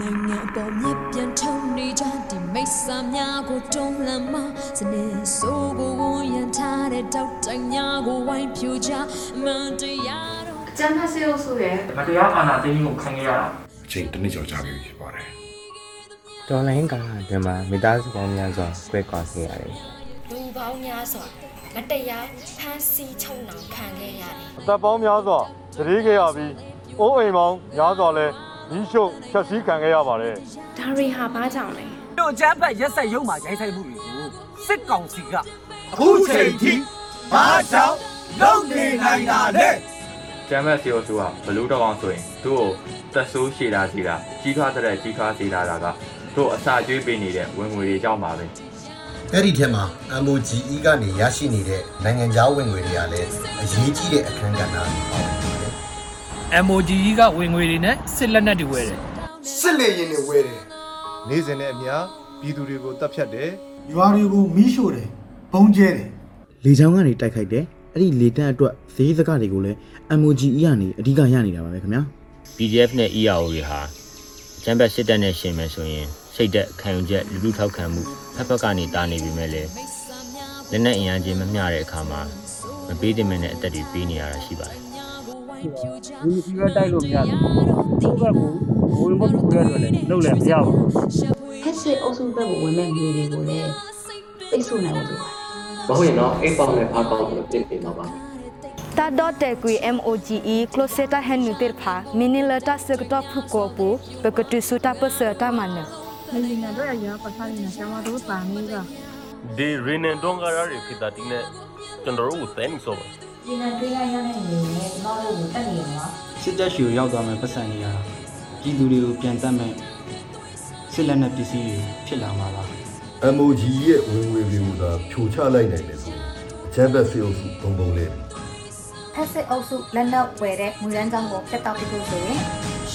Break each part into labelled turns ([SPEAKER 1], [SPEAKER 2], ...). [SPEAKER 1] နိုင်ငံအပေါ်မြက်ပြန်ထုံနေကြဒီမိစ္ဆာများကိုတွန်းလှန်မစနေဆိုးကိုဝန်ရံထားတဲ့တောက်တိုင်များကိုဝိုင်းပြူကြအမှန်တရားတော့
[SPEAKER 2] အကျန်းဖတ်စေအုပ်စုရဲ့
[SPEAKER 3] မတရားအာဏာသိမ်းမှုခံခဲ့ရတာ
[SPEAKER 4] အချိန်တစ်နှစ်ကျော်ကြာပြီဖြစ်ပါတယ်
[SPEAKER 5] တော်လိုင်းကဒီမှာမိသားစုပေါင်းများစွာကွဲကွာစေရတယ်
[SPEAKER 6] လူပေါင်းများစွာမတရားဖမ်းဆီးချုပ်နှောင်ခံခဲ့ရတယ်
[SPEAKER 7] တပ်ပေါင်းများစွာသတိခဲ့ရပြီးအိုးအိမ်ပေါင်းများစွာလည်းမိရှုပ်ဖြက်စီးခံခဲ့ရပါတယ်
[SPEAKER 2] ဒါရီဟာဘာကြောင့်လဲ
[SPEAKER 8] တို့အကြမ်းဖက်ရက်ဆက်ရုံမှာရိုက်ဆိုင်မှုတွေကိုစစ်ကောင်စီက
[SPEAKER 9] အခုချိန်ထိဘာကြောင့်လုံနေနိုင်တာလဲ
[SPEAKER 10] ကျမ်းမတ်စီအိုဆိုတာဘလူးတော့အောင်ဆိုရင်သူ့ကိုတက်ဆိုးရှည်တာစီတာကြီးထွားတဲ့ကြီးထွားစီတာတာကသူ့အစာကျွေးပေးနေတဲ့ဝင်ငွေတွေကြောင့်ပါပဲ
[SPEAKER 9] အဲ့ဒီထဲမှာ MOGE ကနေရရှိနေတဲ့နိုင်ငံခြားဝင်ငွေတွေကလည်းအရေးကြီးတဲ့အခန်းကဏ္ဍတွေပါဝင်နေတယ်
[SPEAKER 8] MOG ကဝင်ငွေတွေနဲ့စစ်လက်နက်တွေဝယ်တယ်
[SPEAKER 11] စစ်လေရင်တွေဝဲတယ်
[SPEAKER 7] နေ့စဉ်နဲ့အမျှပြည်သူတွေကိုတပ်ဖြတ်တယ်
[SPEAKER 11] ရွာတွေကိုမီးရှို့တယ်ဘုံကျဲတယ်
[SPEAKER 5] လေချောင်းကနေတိုက်ခိုက်တယ်အဲ့ဒီလေတန်းအတွက်ဈေးစကားတွေကိုလည်း MOGE ကနေအဓိကရနေတာပါပဲခင်ဗျာ
[SPEAKER 10] PDF နဲ့ EAO တွေဟာကျမ်းပတ်စစ်တပ်နဲ့ရှင်မယ်ဆိုရင်စိတ်သက်ခံယူချက်လူလူထောက်ခံမှုဖက်ဖက်ကနေတာနေပြီမဲ့လေလက်နဲ့အင်အားချင်းမမျှတဲ့အခါမှာမပေးတင်မဲ့တဲ့အသက်တွေပေးနေရတာရှိပါတယ်
[SPEAKER 1] ဘူးဒီကတိုက်လို့မရဘူးသူ့ဘက်ကိုဝင်ဖို့ပြရတယ်လည်းလုပ်လည်းမရဘူး
[SPEAKER 2] ဟက်စစ်အုပ်စုဘက်ကိုဝင်မဲ့ငွေတွေကိုလည်းသိပ်ဆိုနိုင်လို့
[SPEAKER 3] မဟုတ်ရင်တော့အိတ်ပေါက်နဲ့ဖားပေါက်ကိုတင်နေတော့ပါ
[SPEAKER 6] tadot.gui moge closeta hanuter pha minilata sekto phuko pu bekotu suta pasata man
[SPEAKER 7] ဒီရင်းနဲ့တွန်းကားရတွေဖြစ်တာဒီနဲ့ကျွန်တော်တို့ကိုသဲနေစောပါ
[SPEAKER 8] စစ်တပ်ရှီကိုရောက်သွားမယ်ပတ်စံနေရတာပြည်သူတွေကိုပြန်တတ်မယ်စစ်လက်နက်ပစ္စည်းတွေဖြစ်လာမှာပါ
[SPEAKER 4] MOGE ရဲ့ဝင်ငွေတွေကိုသာဖြိုချလိုက်နိုင်တယ်ဆိုရင်အကြမ်းဖက်စေအုပ်စုပုံပုံလေး
[SPEAKER 6] ဖက်စစ်အုပ်စုလက်နောက်ဝယ်တဲ့မူရန်ကြောင့်ကိုဖက်တောက်ပြလို့ဆိုရင်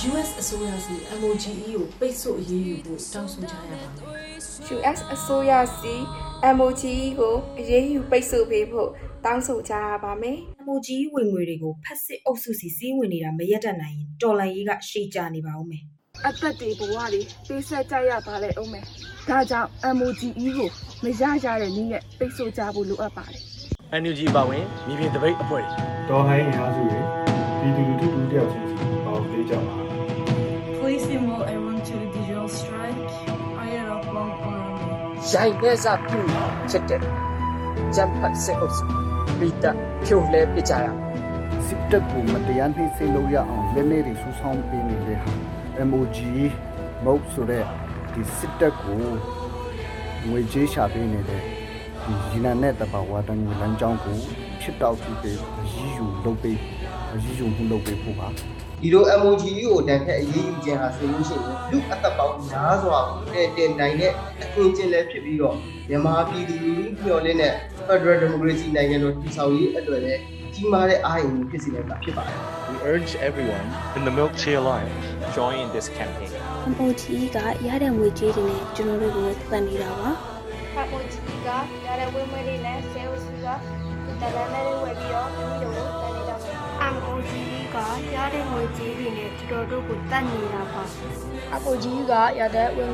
[SPEAKER 2] US အစိုးရစီ MOGE ကိုပိတ်ဆို့အရေးယူဖို့တောင်းဆိုကြရပါတယ်
[SPEAKER 6] US အစိုးရစီ MOGE ကိုအရေးယူပိတ်ဆို့ပေးဖို့တောင်းဆိုကြရပါမယ်
[SPEAKER 2] MOGE ဝင်ငွေတွေကိုဖက်စစ်အုပ်စုစီစီးဝင်နေတာမရက်တတ်နိုင်ရင်တော်လန်ရေးကရှေ့ကျနေပါဦးမယ်
[SPEAKER 6] အသက်တွေဘဝတွေသိဆက်ကြရပါလေအောင်မယ်ဒါကြောင့် MOGE ကိုမရကြတဲ့နည်းနဲ့ပိတ်ဆို့ကြဖို့လိုအပ်ပါတယ်
[SPEAKER 8] NUG ပါဝင်မြေပြင်တပိတ်အဖွဲ့တွေ
[SPEAKER 7] တော်ဟိုင်းအင်အားစုတွေပြည်သူလူထုတူတယောက်ချင်းစီပေါင်းပေးကြပါ
[SPEAKER 2] Placing more around to the digital strike higher up long on
[SPEAKER 8] ရိုင်ဖက်စားပြုမှာဖြစ်တယ်ကျမ်းဖတ်စစ်အုပ်စုပြည်တပ်ဖြိုလဲပစ်ကြရမယ်
[SPEAKER 11] စစ်တပ်ကမတရားနှိပ်စက်လို့ရအောင်လက်နေတွေဆူဆောင်ပေးနေတဲ့ဟာ MOG မဟုတ်ဆိုတဲ့ဒီစစ်တပ်ကိုငွေကြေးရှာပေးနေတဲ့ဒီရင်းနှီးတဲ့တဘာဝတန်ကြီးလမ်းကြောင်းကိုဖြစ်တောက်ပြီးပေးအရည်ယူလုပ်ပေးအရည်ယူမှုလုပ်ပေးဖို့ပါ
[SPEAKER 9] ဒီလို MOGE ကိုတန်ခတ်အရေးယူခြင်းဟာဆိုလို့ရှိရင်လူအသက်ပေါင်းများစွာကိုတည်တည်နိုင်တဲ့အခွင့်အရေးလည်းဖြစ်ပြီးတော့မြန်မာပြည်သူလူထုမျှော်လင့်တဲ့ Federal Democracy နိုင်ငံတော်တည်ဆောက်ရေးအတွက်လည်းကြီးမားတဲ့အားအင်ဖြစ်စေတာဖြစ်ပါတယ်
[SPEAKER 7] We urge everyone in the milk chair line join this campaign
[SPEAKER 6] MOGE ကရတဲ့ငွေကြေးတွေနဲ့ကျွန်တော်တို့ကိုသက်သက်နေတာပါ MOGE ကရတဲ့ဝင်ငွေတွေနဲ့ဆဲဥစု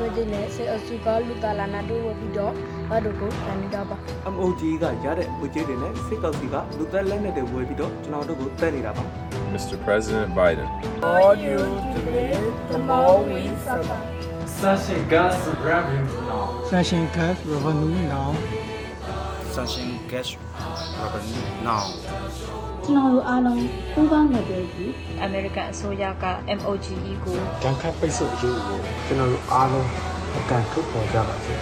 [SPEAKER 6] ကဒီတလန်နဲ့ဝယ်ပြီးတော့ကျွန်တော်တို့သက်နေတာပါ MOGE ကရတဲ့ငွေကြေးတွေနဲ့ကျွန်တော်တို့ကိုသက်နေတာပါ MOGE ကရတဲ့ဝင်ငွေတွေနဲ့ဆဲဥစုကလူတလန်နဲ့ဝယ်ပြီးတော့ကျွန်တော်တို့ကိုသက်နေတာပါ
[SPEAKER 8] MOGE ကရတဲ့ဝေကြေးတွေနဲ့စစ်ကောင်စီကလူသက်လက်နက်တွေဝယ်ပြီးတော့ကျွန်တော်တို့ကိုတက်နေတာ
[SPEAKER 4] Mr.
[SPEAKER 8] ပါ
[SPEAKER 4] President Biden
[SPEAKER 9] All you do the more we suffer
[SPEAKER 3] ဆက်ရှင်ကစပရမ်ဘင်းနော်
[SPEAKER 8] Fashion Gas Revenue Now
[SPEAKER 6] ကျွန်တော်တို့အားလုံးပူးပေါင်းနေတယ်ကြီး
[SPEAKER 2] American အစိုးရက MOGE ကို
[SPEAKER 7] တန်ခတ်ပိတ်ဆို့အရေးယူကိုကျွန်တော်တို့အားလုံးအကန့်ထုတ်ပေါ်ကြပါစေ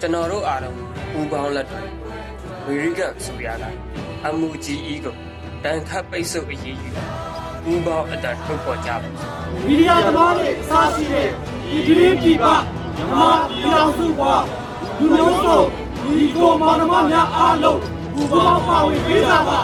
[SPEAKER 8] ကျွန်တော်တို့အားလုံးပူးပေါင်းလက်တွဲအမေရိကန်ဆိုရတာ MOGE ကိုတန်ခတ်ပိတ်ဆို့အရေးယူပူးပေါင်းအတက်ထုတ်ပေါ်ကြပါ
[SPEAKER 9] မီဒီယာသမားတွေအစားရှိတဲ့ဒီဒီပြည်ပမြန်မာပြည်တော်စုဘွားလူမျိုးစုဒီကိုမောင်နှမများအားလုံးဘုရားပါဝင်ပေးကြပါ